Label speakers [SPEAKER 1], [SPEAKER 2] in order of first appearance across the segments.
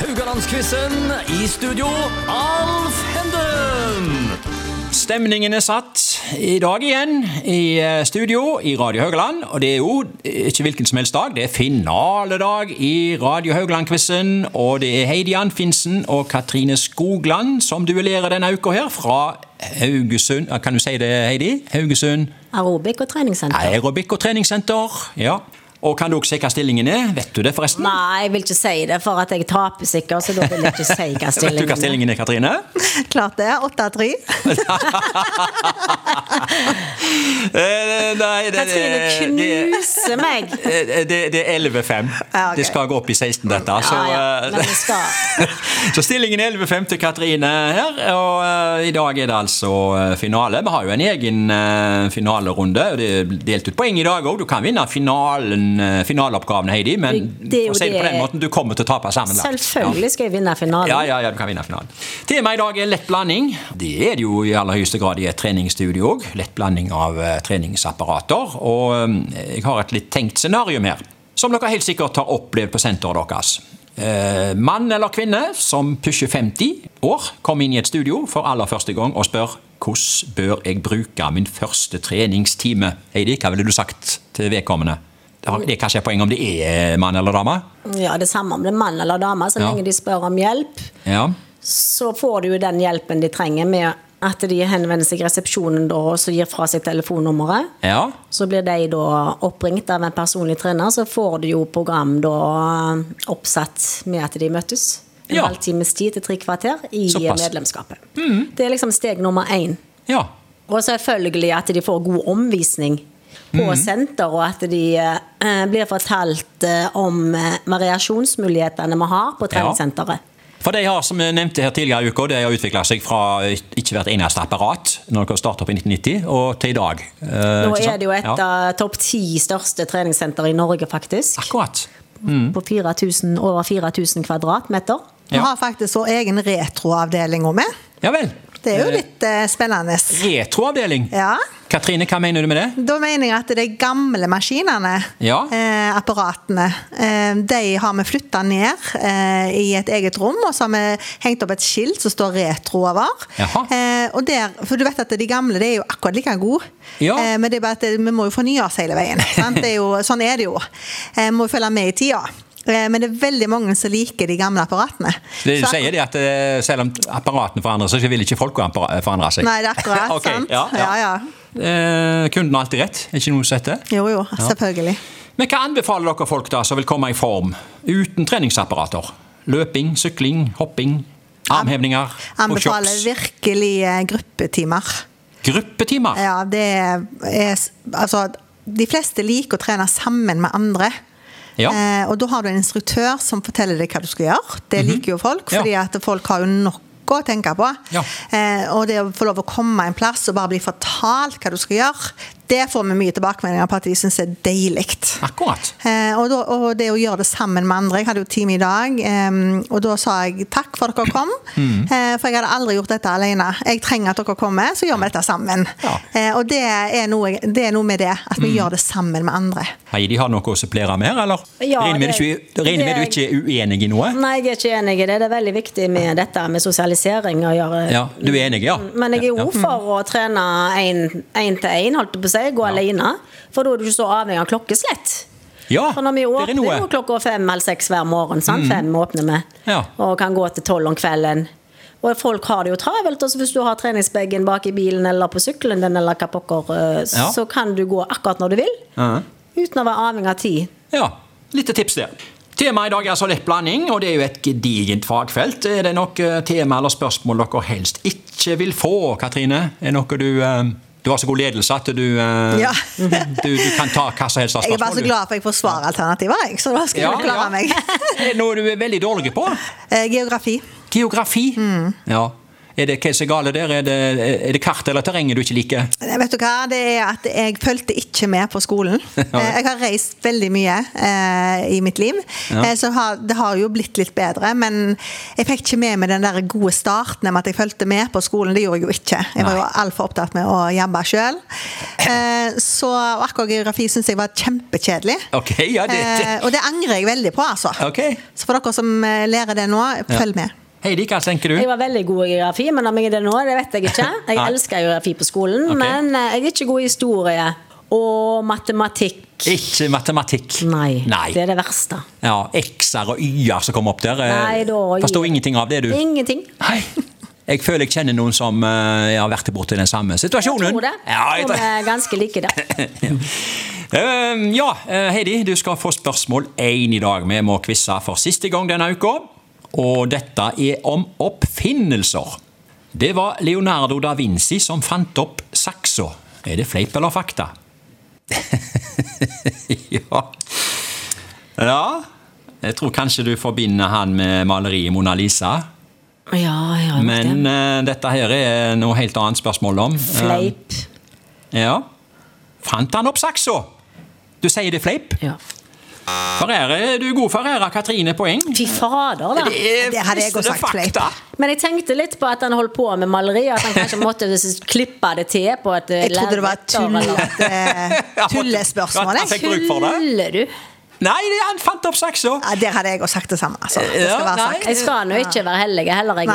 [SPEAKER 1] Rogalandsquizen i studio, Alf Henden!
[SPEAKER 2] Stemningen er satt i dag igjen i eh, studio i Radio Haugland. Og det er jo eh, ikke hvilken som helst dag, det er finaledag i Radio Haugland-quizen. Og det er Heidi Anfinsen og Katrine Skogland som duellerer denne uka her fra Haugesund eh, Kan du si det, Heidi? Haugesund
[SPEAKER 3] Aerobic og treningssenter.
[SPEAKER 2] aerobikk- og treningssenter. Ja. Og kan du også se hva stillingen er? Vet du det, forresten?
[SPEAKER 3] Nei, jeg vil ikke si det, for at jeg taper sikkert, så da vil jeg ikke si hva
[SPEAKER 2] Vet du hva
[SPEAKER 3] stillingen er.
[SPEAKER 2] stillingen er, Katrine?
[SPEAKER 4] Klart det. Åtte av tre.
[SPEAKER 2] Eh, nei, det,
[SPEAKER 3] Katrine knuser meg!
[SPEAKER 2] Eh, Det, det er 11-5.
[SPEAKER 4] Ja, ok.
[SPEAKER 2] Det skal gå opp i 16, dette. Så,
[SPEAKER 3] Ja, ja,
[SPEAKER 2] eh,
[SPEAKER 3] men det skal.
[SPEAKER 2] så stillingen er 11-5 til Katrine her. Og eh, i dag er det altså eh, finale. Vi har jo en egen eh, finalerunde. og Det er delt ut poeng i dag òg. Du kan vinne finalen, eh, finaleoppgaven, Heidi, men
[SPEAKER 3] Det- det er jo
[SPEAKER 2] for å si det på
[SPEAKER 3] det-
[SPEAKER 2] den måten, du kommer til å tape sammenlagt.
[SPEAKER 3] Selvfølgelig skal jeg vinne
[SPEAKER 2] Ja,
[SPEAKER 3] finalen.
[SPEAKER 2] ja, ja, du kan vinne finalen. Temaet i dag er lett blanding. Det er det jo i aller høyeste grad i et treningsstudio òg. Lett blanding av eh, treningsapparater. Og eh, jeg har et litt tenkt scenarium her, som dere helt sikkert har opplevd på senteret deres. Eh, mann eller kvinne som pusher 50 år, kommer inn i et studio for aller første gang og spør hvordan bør jeg bruke min første treningstime? Heidi, hva ville du sagt til vedkommende? Det har- det er kanskje et poeng om det er mann eller dame?
[SPEAKER 3] Ja, det er samme om det er mann eller dame, så
[SPEAKER 2] Ja.
[SPEAKER 3] lenge de spør om hjelp,
[SPEAKER 2] Ja.
[SPEAKER 3] så får de jo den hjelpen de trenger med at de henvender seg i resepsjonen da, og så gir fra seg telefonnummeret.
[SPEAKER 2] ja.
[SPEAKER 3] Så blir de da oppringt av en personlig trener, så får de jo program da eh, oppsatt med at de møtes. En
[SPEAKER 2] Ja.
[SPEAKER 3] halvtimes tid til tre kvarter i
[SPEAKER 2] Såpass.
[SPEAKER 3] medlemskapet. Det er liksom steg nummer én.
[SPEAKER 2] Ja.
[SPEAKER 3] Og selvfølgelig at de får god omvisning på senter, og at de eh, blir fortalt eh, om eh, variasjonsmulighetene vi har på treningssenteret.
[SPEAKER 2] For de har, som jeg nevnte her tidligere i uka, de har utvikla seg fra ikke hvert eneste apparat når dere starta opp i 1990, og til i dag. Eh,
[SPEAKER 3] Nå er det jo et av topp ti største treningssenter i Norge, faktisk.
[SPEAKER 2] Akkurat.
[SPEAKER 3] På 4000, over 4000 kvadratmeter.
[SPEAKER 4] Vi
[SPEAKER 2] Ja.
[SPEAKER 4] har faktisk vår egen retroavdeling òg med.
[SPEAKER 2] Ja vel.
[SPEAKER 4] Det er jo litt eh, spennende.
[SPEAKER 2] Retroavdeling.
[SPEAKER 4] Ja.
[SPEAKER 2] Katrine, hva mener du med det?
[SPEAKER 4] Da mener jeg at de gamle maskinene,
[SPEAKER 2] Ja.
[SPEAKER 4] eh, apparatene, eh, de har vi flytta ned eh, i et eget rom, og så har vi hengt opp et skilt som står retro over.
[SPEAKER 2] Jaha.
[SPEAKER 4] Eh, og der, for du vet at de gamle de er jo akkurat like gode,
[SPEAKER 2] Ja.
[SPEAKER 4] eh, men det er bare at vi må jo fornye oss hele veien. Sant? Det er jo, sånn er det jo. Eh, må jo følge med i tida. Eh, men det er veldig mange som liker de gamle apparatene.
[SPEAKER 2] Det du
[SPEAKER 4] Så-
[SPEAKER 2] sier, det er at eh, selv om apparatene forandrer seg, så vil ikke folk appara- forandre seg.
[SPEAKER 4] Nei, det er akkurat.
[SPEAKER 2] Ok,
[SPEAKER 4] sant?
[SPEAKER 2] Ja, ja.
[SPEAKER 4] ja, ja.
[SPEAKER 2] Eh, kunden har alltid rett. Er ikke noe som heter
[SPEAKER 4] Jo, jo. Selvfølgelig.
[SPEAKER 2] Men hva anbefaler dere folk da som vil komme i form uten treningsapparater? Løping, sykling, hopping, armhevninger,
[SPEAKER 4] Anbefaler
[SPEAKER 2] pushups?
[SPEAKER 4] virkelig eh, gruppetimer.
[SPEAKER 2] Gruppetimer?
[SPEAKER 4] Ja, det er s- Altså, de fleste liker å trene sammen med andre.
[SPEAKER 2] Ja.
[SPEAKER 4] Eh, og da har du en instruktør som forteller deg hva du skal gjøre. Det liker jo folk,
[SPEAKER 2] Mhm. Ja.
[SPEAKER 4] fordi at folk har jo nok å tenke på.
[SPEAKER 2] Ja.
[SPEAKER 4] Eh, og det å få lov å komme en plass og bare bli fortalt hva du skal gjøre, det får vi mye tilbakemeldinger på at de syns er deilig.
[SPEAKER 2] Akkurat.
[SPEAKER 4] Eh, og, da, og det å gjøre det sammen med andre. Jeg hadde jo time i dag, eh, og da sa jeg takk for at dere kom.
[SPEAKER 2] Mm.
[SPEAKER 4] Eh, for jeg hadde aldri gjort dette alene. Jeg trenger at dere kommer, så gjør vi dette sammen.
[SPEAKER 2] Ja. Mm.
[SPEAKER 4] Eh, og det er, noe, det er noe med det, at vi gjør det sammen med andre.
[SPEAKER 2] Heidi, har du noe å supplere med, her, eller?
[SPEAKER 3] Ja,
[SPEAKER 2] regner med,
[SPEAKER 3] det-
[SPEAKER 2] du ikke, regner med du
[SPEAKER 3] det-
[SPEAKER 2] ikke er uenig i noe?
[SPEAKER 3] Nei, jeg er ikke enig i det. Det er veldig viktig med dette med sosialisering å gjøre.
[SPEAKER 2] Ja, du er enig, ja?
[SPEAKER 3] Men jeg er
[SPEAKER 2] Ja.
[SPEAKER 3] jo for å trene én til én, holdt jeg på å si. Gå alene. For da er du ikke så avhengig av klokkeslett.
[SPEAKER 2] Ja,
[SPEAKER 3] For når vi
[SPEAKER 2] Ah, det er
[SPEAKER 3] åpner
[SPEAKER 2] noe. Mm.
[SPEAKER 3] jo klokka fem eller seks hver morgen. Sant? Fem åpner vi.
[SPEAKER 2] Ja.
[SPEAKER 3] Og kan gå til tolv om kvelden. Og folk har det jo travelt. Og så hvis du har treningsbagen bak i bilen eller på sykkelen din, eller hva pokker, eh,
[SPEAKER 2] Ja.
[SPEAKER 3] så kan du gå akkurat når du vil.
[SPEAKER 2] Ja.
[SPEAKER 3] Uten å være avhengig av tid.
[SPEAKER 2] Ja, litt tips der. Temaet i dag er altså lett blanding, og det er jo et gedigent fagfelt. Er det noe tema eller spørsmål dere helst ikke vil få, Katrine? Er noe du... eh, Du har så god ledelse at du, eh,
[SPEAKER 4] Ja.
[SPEAKER 2] du, du kan ta hva som helst av spørsmål.
[SPEAKER 4] Jeg er bare så
[SPEAKER 2] du.
[SPEAKER 4] glad for at jeg får svaralternativer, jeg, så da skal jeg klare meg.
[SPEAKER 2] er det noe du er veldig dårlig på?
[SPEAKER 4] Eh, Geografi.
[SPEAKER 2] Geografi? Ja. Er det hva som er gale der? Er det, er det kartet eller terrenget du ikke liker?
[SPEAKER 4] Nei, Vet du hva, det er at jeg fulgte ikke med på skolen. Eh, Jeg har reist veldig mye eh, i mitt liv,
[SPEAKER 2] Ja.
[SPEAKER 4] eh, så har, det har jo blitt litt bedre. Men jeg fikk ikke med meg den der gode starten med at jeg fulgte med på skolen. Det gjorde jeg jo ikke. Jeg var jo altfor opptatt med å jabbe sjøl. Så og akkurat geografi syns jeg var kjempekjedelig.
[SPEAKER 2] Ok, ja, det,
[SPEAKER 4] Eh,
[SPEAKER 2] det.
[SPEAKER 4] Og det angrer jeg veldig på, altså.
[SPEAKER 2] Ok.
[SPEAKER 4] Så for dere som eh, lærer det nå, følg med.
[SPEAKER 2] Heidi, hva tenker du?
[SPEAKER 3] Jeg var veldig god i geografi, men om jeg er det nå, det vet jeg ikke.
[SPEAKER 2] Mm.
[SPEAKER 3] Jeg
[SPEAKER 2] Nei.
[SPEAKER 3] elsker geografi på skolen,
[SPEAKER 2] Ok.
[SPEAKER 3] men eh, jeg er ikke god i historie og matematikk.
[SPEAKER 2] Ikke matematikk.
[SPEAKER 3] Nei,
[SPEAKER 2] Nei.
[SPEAKER 3] det er det verste.
[SPEAKER 2] Ja, X-er og Y-er som kom opp der. eh,
[SPEAKER 3] Nei, da-
[SPEAKER 2] Forstår ingenting av det, du.
[SPEAKER 3] Ingenting.
[SPEAKER 2] Nei. Jeg føler jeg kjenner noen som eh, har vært borti den samme
[SPEAKER 3] Jeg
[SPEAKER 2] situasjonen.
[SPEAKER 3] tror det.
[SPEAKER 2] Ja,
[SPEAKER 3] Jeg
[SPEAKER 2] jeg
[SPEAKER 3] tror vi
[SPEAKER 2] tror-
[SPEAKER 3] er ganske like der.
[SPEAKER 2] Eh, ja, eh, Heidi, du skal få spørsmål én i dag. Vi må quize for siste gang denne uka. Og dette er om oppfinnelser. Det var Leonardo da Vinci som fant opp saksa. Er det fleip eller fakta? ja. ja Jeg tror kanskje du forbinder han med maleriet Mona Lisa.
[SPEAKER 3] Ja, ja.
[SPEAKER 2] Men eh, dette her er noe helt annet spørsmål om. Eh,
[SPEAKER 3] Fleip.
[SPEAKER 2] ja. Fant han opp saksa? Du sier det er fleip?
[SPEAKER 3] Ja.
[SPEAKER 2] Ferrere, du er god Ferrere, Katrine poeng.
[SPEAKER 3] Fy fader, da.
[SPEAKER 4] Det hadde jeg også sagt, fleip.
[SPEAKER 3] Men jeg tenkte litt på at han holdt på med maleri, og at han kanskje måtte klippe det til på et eh,
[SPEAKER 4] Jeg trodde det var et
[SPEAKER 3] lerret eller noe.
[SPEAKER 4] tullete- tullespørsmål.
[SPEAKER 2] Han
[SPEAKER 4] jeg.
[SPEAKER 2] fikk bruk for det.
[SPEAKER 3] Tuller du?
[SPEAKER 2] Nei, det- han fant opp saksa!
[SPEAKER 4] Ja, der hadde jeg også sagt det samme. Altså. Det
[SPEAKER 2] Ja,
[SPEAKER 4] skal være
[SPEAKER 2] nei.
[SPEAKER 4] sagt.
[SPEAKER 3] Jeg skal nå ikke være hellig heller, jeg.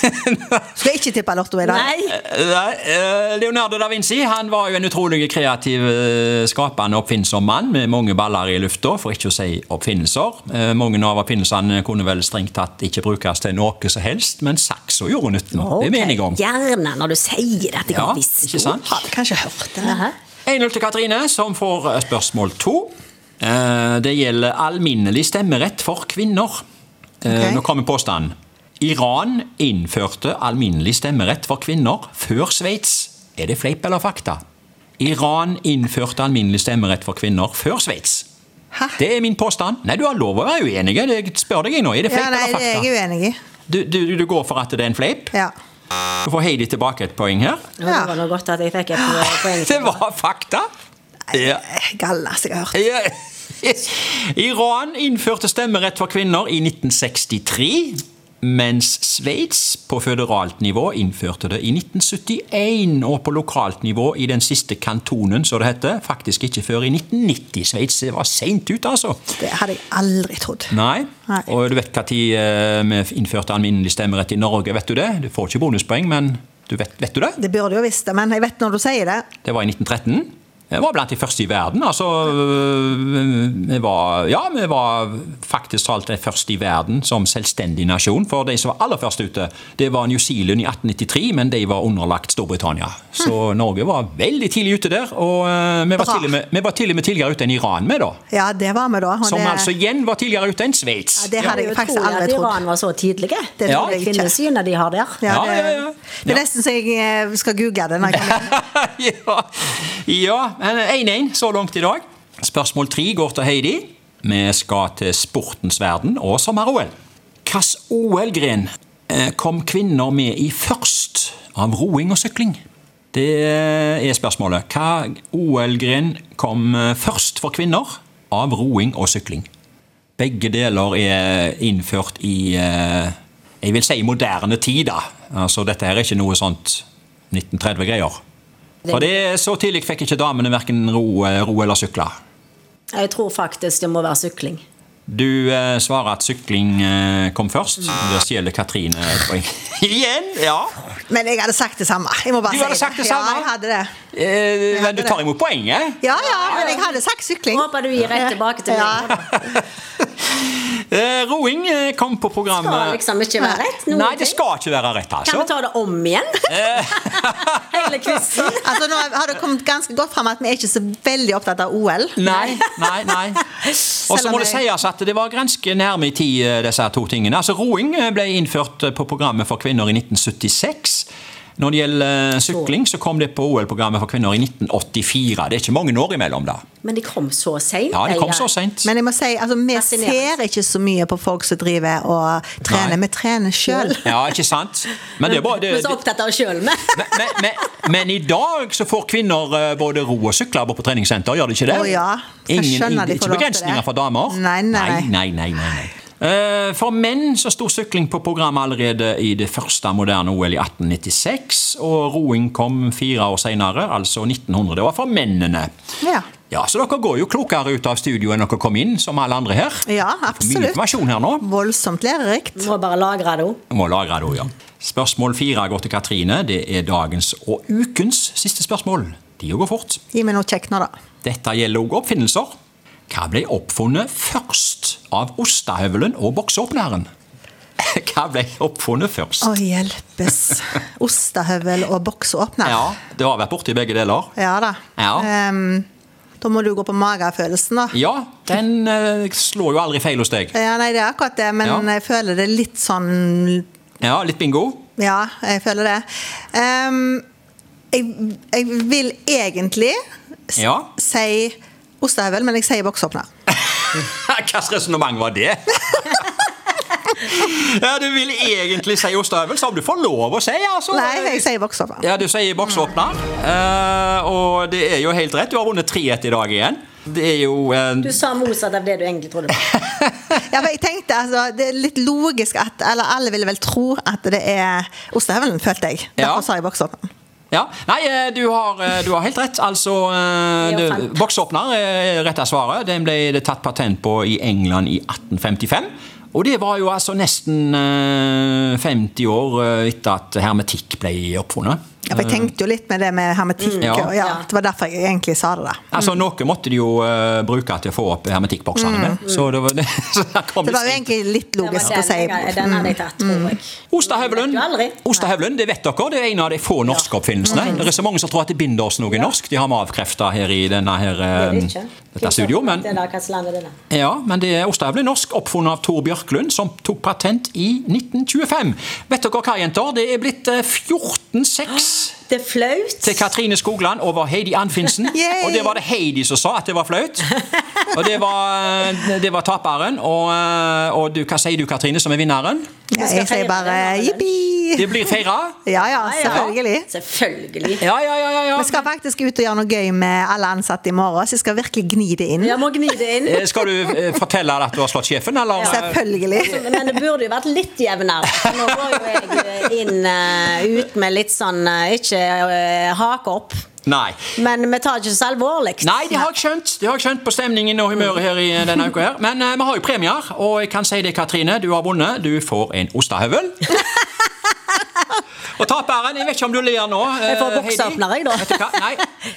[SPEAKER 4] Nei. Skal ikke tippe Lotto i dag.
[SPEAKER 3] Nei.
[SPEAKER 2] Nei, eh, Leonardo da Vinci han var jo en utrolig kreativ, eh, skapende og oppfinnsom mann med mange baller i lufta, for ikke å si oppfinnelser. Eh, Mange av oppfinnelsene kunne vel strengt tatt ikke brukes til noe som helst, men saksa gjorde nytten. Det er vi enige om.
[SPEAKER 3] Gjerne når du sier det. at jeg
[SPEAKER 2] Ja,
[SPEAKER 3] har visst
[SPEAKER 2] ikke
[SPEAKER 3] det.
[SPEAKER 2] sant?
[SPEAKER 4] Har vi kanskje hørt det?
[SPEAKER 3] Hæ?
[SPEAKER 2] 1-0 til Katrine, som får eh, spørsmål to. Eh, Det gjelder alminnelig stemmerett for kvinner. Eh,
[SPEAKER 4] Ok.
[SPEAKER 2] Nå kommer påstanden. Iran innførte alminnelig stemmerett for kvinner før Sveits. Er det fleip eller fakta? Iran innførte alminnelig stemmerett for kvinner før Sveits.
[SPEAKER 4] Hæ?
[SPEAKER 2] Det er min påstand. Nei, du har lov å være uenig. Jeg spør deg jeg nå. Er det
[SPEAKER 4] Ja,
[SPEAKER 2] fleip
[SPEAKER 4] nei,
[SPEAKER 2] eller
[SPEAKER 4] det er jeg
[SPEAKER 2] fakta?
[SPEAKER 4] uenig i.
[SPEAKER 2] Du, du, du går for at det er en fleip.
[SPEAKER 4] Ja.
[SPEAKER 2] Du får Heidi tilbake et poeng her.
[SPEAKER 3] Ja, Det var noe godt at jeg fikk et
[SPEAKER 4] Ah,
[SPEAKER 3] eh, poeng.
[SPEAKER 2] Det var fakta. Ja.
[SPEAKER 4] Gallas, Eh, jeg har hørt.
[SPEAKER 2] Ja. Iran innførte stemmerett for kvinner i 1963, mens Sveits på føderalt nivå innførte det i 1971, og på lokalt nivå i den siste kantonen, som det heter, faktisk ikke før i 1990. Sveits var seint ute, altså.
[SPEAKER 4] Det hadde jeg aldri trodd.
[SPEAKER 2] Nei.
[SPEAKER 4] Nei.
[SPEAKER 2] Og du vet når vi innførte alminnelig stemmerett i Norge, vet du det? Du får ikke bonuspoeng, men du vet, vet du det?
[SPEAKER 4] Det burde jeg jo visst det, men jeg vet når du sier det.
[SPEAKER 2] Det var i 1913. Jeg var blant de første i verden. altså øh, Vi var, ja, vi var faktisk talt de første i verden som selvstendig nasjon. For de som var aller først ute, det var New Zealand i 1893, men de var underlagt Storbritannia.
[SPEAKER 4] Hm.
[SPEAKER 2] Så Norge var veldig tidlig ute der. Og øh, vi var,
[SPEAKER 4] Bra.
[SPEAKER 2] til og med, vi var til og med tidligere ute enn Iran, med da.
[SPEAKER 4] Ja, det var vi da. og
[SPEAKER 2] Som
[SPEAKER 4] det,
[SPEAKER 2] altså igjen var tidligere ute enn Sveits.
[SPEAKER 4] ja, det hadde jeg faktisk
[SPEAKER 3] utrolig at
[SPEAKER 4] aldri trodd.
[SPEAKER 3] Iran var så tidlige.
[SPEAKER 4] Det
[SPEAKER 2] Ja.
[SPEAKER 4] trodde jeg ikke.
[SPEAKER 3] Kvinnesynet de har der.
[SPEAKER 4] Ja,
[SPEAKER 2] Ja,
[SPEAKER 4] det,
[SPEAKER 2] ja, ja.
[SPEAKER 4] det er
[SPEAKER 2] Ja.
[SPEAKER 4] nesten så jeg eh, skal google det. Når jeg kommer.
[SPEAKER 2] ja, ja men 1-1 så langt i dag. Spørsmål tre går til Heidi. Vi skal til sportens verden og sommer-OL. Hvilken OL-gren eh, kom kvinner med i først av roing og sykling? Det eh, er spørsmålet. Hva OL-gren kom eh, først for kvinner av roing og sykling? Begge deler er eh, innført i eh, jeg vil si moderne tid. da. Altså, Dette her er ikke noe sånt 1930-greier. For det Så tidlig fikk ikke damene verken ro, eh, ro eller sykle.
[SPEAKER 3] Jeg tror faktisk det må være sykling.
[SPEAKER 2] Du eh, svarer at sykling eh, kom først. Der stjeler Katrine et poeng. Igjen! Ja.
[SPEAKER 4] Men jeg hadde sagt det samme. Jeg må bare
[SPEAKER 2] Du
[SPEAKER 4] si
[SPEAKER 2] hadde sagt det samme?
[SPEAKER 4] Ja, jeg hadde det.
[SPEAKER 2] Eh, men du
[SPEAKER 4] hadde
[SPEAKER 2] tar
[SPEAKER 4] det.
[SPEAKER 2] imot eh? poenget.
[SPEAKER 4] Ja, ja, men jeg hadde sagt sykling.
[SPEAKER 3] Håper du gir rett tilbake til meg.
[SPEAKER 4] Ja.
[SPEAKER 2] Eh, roing eh, kom på
[SPEAKER 3] Det skal
[SPEAKER 2] programmet.
[SPEAKER 3] liksom ikke være rett. noen
[SPEAKER 2] Nei, det
[SPEAKER 3] ting.
[SPEAKER 2] skal ikke Eh. være rett,
[SPEAKER 3] Kan
[SPEAKER 2] altså.
[SPEAKER 3] vi ta det om igjen? Hele quizen.
[SPEAKER 4] Altså, nå har det kommet ganske godt fram at vi er ikke så veldig opptatt av OL.
[SPEAKER 2] Nei, nei, nei. Og så
[SPEAKER 4] Selv
[SPEAKER 2] må
[SPEAKER 4] om
[SPEAKER 2] det
[SPEAKER 4] jeg-
[SPEAKER 2] sies at det var ganske nærme i tid, eh, disse her to tingene. Altså, Roing eh, ble innført eh, på programmet for kvinner i 1976. Når det gjelder sykling, så kom det på OL-programmet for kvinner i 1984. Det er ikke mange år imellom da.
[SPEAKER 3] Men de kom så seint.
[SPEAKER 2] Ja, det kom så sent.
[SPEAKER 4] Men jeg må si, altså, vi
[SPEAKER 3] Fascinerende.
[SPEAKER 4] ser ikke så mye på folk som driver og trener.
[SPEAKER 2] Nei.
[SPEAKER 4] Vi trener sjøl.
[SPEAKER 2] Ja, ikke sant? Men det er bare...
[SPEAKER 3] Vi er
[SPEAKER 2] Det,
[SPEAKER 3] så opptatt av oss sjøl, men.
[SPEAKER 2] men, men, men, men i dag så får kvinner eh, både ro og sykkelabber på treningssenter, gjør de ikke det?
[SPEAKER 4] Å ja. Jeg
[SPEAKER 2] Ingen,
[SPEAKER 4] skjønner de får
[SPEAKER 2] ikke
[SPEAKER 4] lov til
[SPEAKER 2] begrensninger
[SPEAKER 4] det.
[SPEAKER 2] for damer.
[SPEAKER 4] Nei, nei, nei.
[SPEAKER 2] nei, nei, nei, nei. Eh, For menn så sto sykling på programmet allerede i det første moderne OL i 1896, og roing kom fire år senere, altså 1900. Det var for mennene.
[SPEAKER 4] Ja.
[SPEAKER 2] Ja, Så dere går jo klokere ut av studio enn dere kom inn, som alle andre her.
[SPEAKER 4] Ja,
[SPEAKER 2] Mye
[SPEAKER 4] absolutt.
[SPEAKER 2] informasjon her nå.
[SPEAKER 4] Voldsomt lærerikt.
[SPEAKER 3] Må bare lagre det òg.
[SPEAKER 2] Må lagre det også, ja. Spørsmål fire går til Katrine. Det er dagens og ukens siste spørsmål. De går fort.
[SPEAKER 4] Gi meg noe kjekt nå, da.
[SPEAKER 2] Dette gjelder også oppfinnelser. Hva ble oppfunnet først av ostehøvelen og boksåpneren? Hva ble oppfunnet først?
[SPEAKER 4] Å, hjelpes. Ostehøvel og boksåpner.
[SPEAKER 2] Ja, det har vært borti begge deler.
[SPEAKER 4] ja da.
[SPEAKER 2] Ja.
[SPEAKER 4] Ehm, da må du gå på magefølelsen, da.
[SPEAKER 2] Ja, den eh, slår jo aldri feil hos deg.
[SPEAKER 4] Ja, nei, det er akkurat det, men
[SPEAKER 2] Ja.
[SPEAKER 4] jeg føler det litt sånn
[SPEAKER 2] Ja, litt bingo.
[SPEAKER 4] Ja, jeg føler det. Ehm, jeg, jeg vil egentlig s-
[SPEAKER 2] Ja.
[SPEAKER 4] si ostehøvel, men jeg sier boksåpner.
[SPEAKER 2] Hvilket resonnement var det? Ja, Du vil egentlig si ostehøvel, som du får lov å si. altså.
[SPEAKER 4] Nei, jeg sier boksåpner.
[SPEAKER 2] Ja, du sier boksåpner. Eh, og det er jo helt rett. Du har vunnet 3-1 i dag igjen. Det er jo eh, en
[SPEAKER 3] Du sa motsatt av det du egentlig trodde. på.
[SPEAKER 4] Ja, men jeg tenkte altså, Det er litt logisk at Eller alle ville vel tro at det er ostehøvelen, følte jeg.
[SPEAKER 2] Ja.
[SPEAKER 4] Derfor sa jeg boksåpner.
[SPEAKER 2] Ja, Nei, eh, du har, eh, du har helt rett. Altså, eh,
[SPEAKER 3] Det er jo
[SPEAKER 2] du-
[SPEAKER 3] fant.
[SPEAKER 2] boksåpner er rett av svaret. Den ble det tatt patent på i England i 1855. Og det var jo altså nesten eh, 50 år eh, etter at hermetikk ble oppfunnet.
[SPEAKER 4] Ja, for jeg tenkte jo litt med det med hermetikk.
[SPEAKER 2] Mm, Ja.
[SPEAKER 4] Og, ja, det var derfor jeg egentlig sa det. da.
[SPEAKER 2] Altså, Noe måtte de jo eh, bruke til å få opp hermetikkboksene med. Så det var, så der kom
[SPEAKER 4] Mm. Det var jo
[SPEAKER 2] sent.
[SPEAKER 4] egentlig litt
[SPEAKER 3] Det var
[SPEAKER 4] logisk å
[SPEAKER 3] den,
[SPEAKER 4] si.
[SPEAKER 3] jeg- den hadde jeg tatt, tror jeg.
[SPEAKER 2] Ostahøvelen,
[SPEAKER 3] Det vet du aldri. Mm.
[SPEAKER 2] Ostahøvelen, det vet dere, det er en av de få norske oppfinnelsene. Det er så mange som tror at det binders noe norsk. De har vi avkrefta her i denne her,
[SPEAKER 3] Det
[SPEAKER 2] eh,
[SPEAKER 3] vet jeg ikke.
[SPEAKER 2] dette studio. Men,
[SPEAKER 3] Det der, hva slags land er det der?
[SPEAKER 2] ja, men det er ostehøvelen er norsk, oppfunnet av Tor Bjørklund, som tok patent i 1925. Vet dere hva, jenter? Det er blitt eh, 14-6
[SPEAKER 3] Det er flaut.
[SPEAKER 2] til Katrine Skogland over Heidi Anfinsen.
[SPEAKER 4] Yay!
[SPEAKER 2] Og det var det Heidi som sa at det var flaut. Og det var, eh, det var taperen. Og, eh, og du, hva sier du, Katrine, som er vinneren?
[SPEAKER 4] Ja, jeg sier bare jippi!
[SPEAKER 2] Det blir feira.
[SPEAKER 4] Ja ja, selvfølgelig.
[SPEAKER 3] Selvfølgelig.
[SPEAKER 2] Ja, ja, ja, ja, ja.
[SPEAKER 4] Vi skal faktisk ut og gjøre noe gøy med alle ansatte i morgen, så jeg skal virkelig gni det inn.
[SPEAKER 3] Jeg må gni det inn.
[SPEAKER 2] Eh, Skal du eh, fortelle at du har slått sjefen, eller?
[SPEAKER 4] Selvfølgelig.
[SPEAKER 3] Men det burde jo vært litt jevnere. For Nå går jo jeg eh, inn eh, ut med litt sånn eh, Ikke eh, hake opp,
[SPEAKER 2] Nei.
[SPEAKER 3] men vi tar ikke så alvorlig.
[SPEAKER 2] Nei, det har jeg skjønt Det har jeg skjønt på stemningen og humøret her i eh, denne uka. her Men eh, vi har jo premier, og jeg kan si det, Katrine. Du har vunnet. Du får en ostehøvel. Og taperen Jeg vet ikke om du ler nå. eh,
[SPEAKER 3] Jeg får
[SPEAKER 2] Heidi.
[SPEAKER 3] bokseåpner, jeg, da.
[SPEAKER 2] Vet du hva? Nei,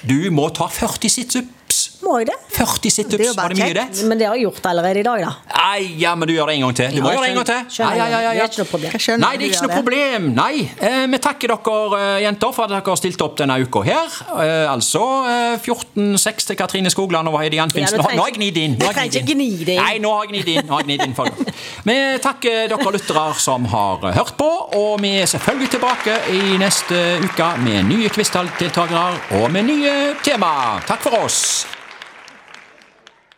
[SPEAKER 2] du må ta 40 situps.
[SPEAKER 3] Må jeg det?
[SPEAKER 2] 40
[SPEAKER 4] Det er jo
[SPEAKER 2] situps,
[SPEAKER 4] bare
[SPEAKER 2] var det mye, det?
[SPEAKER 4] kjekt.
[SPEAKER 3] Men det har jeg gjort allerede i dag, da.
[SPEAKER 2] Nei, ja, men du gjør det en gang til. Du må
[SPEAKER 3] Ja,
[SPEAKER 2] gjøre det en gang
[SPEAKER 3] skjønner-
[SPEAKER 2] til.
[SPEAKER 3] skjønner
[SPEAKER 2] Ja, ja, ja,
[SPEAKER 3] det.
[SPEAKER 2] ja.
[SPEAKER 3] Det er ikke noe problem.
[SPEAKER 4] Jeg skjønner
[SPEAKER 2] Nei, det er
[SPEAKER 4] du
[SPEAKER 2] ikke
[SPEAKER 4] gjør
[SPEAKER 2] noe problem. Nei. Eh, vi takker dere eh, jenter for at dere har stilt opp denne uka her. Eh, altså eh, 14-6 til Katrine Skogland og Heidi Anfinsen.
[SPEAKER 3] Ja,
[SPEAKER 2] Nå-
[SPEAKER 3] du trenger
[SPEAKER 2] nå har jeg
[SPEAKER 3] ikke-
[SPEAKER 2] gnidd inn. Nå har jeg
[SPEAKER 3] du trenger ikke gni det inn.
[SPEAKER 2] Nei, nå har jeg gnidd inn. Nå har jeg gnidd inn for godt. Vi takker dere lyttere som har eh, hørt på, og vi er selvfølgelig tilbake i neste uke med nye quiz-deltakere og med nye tema. Takk for oss.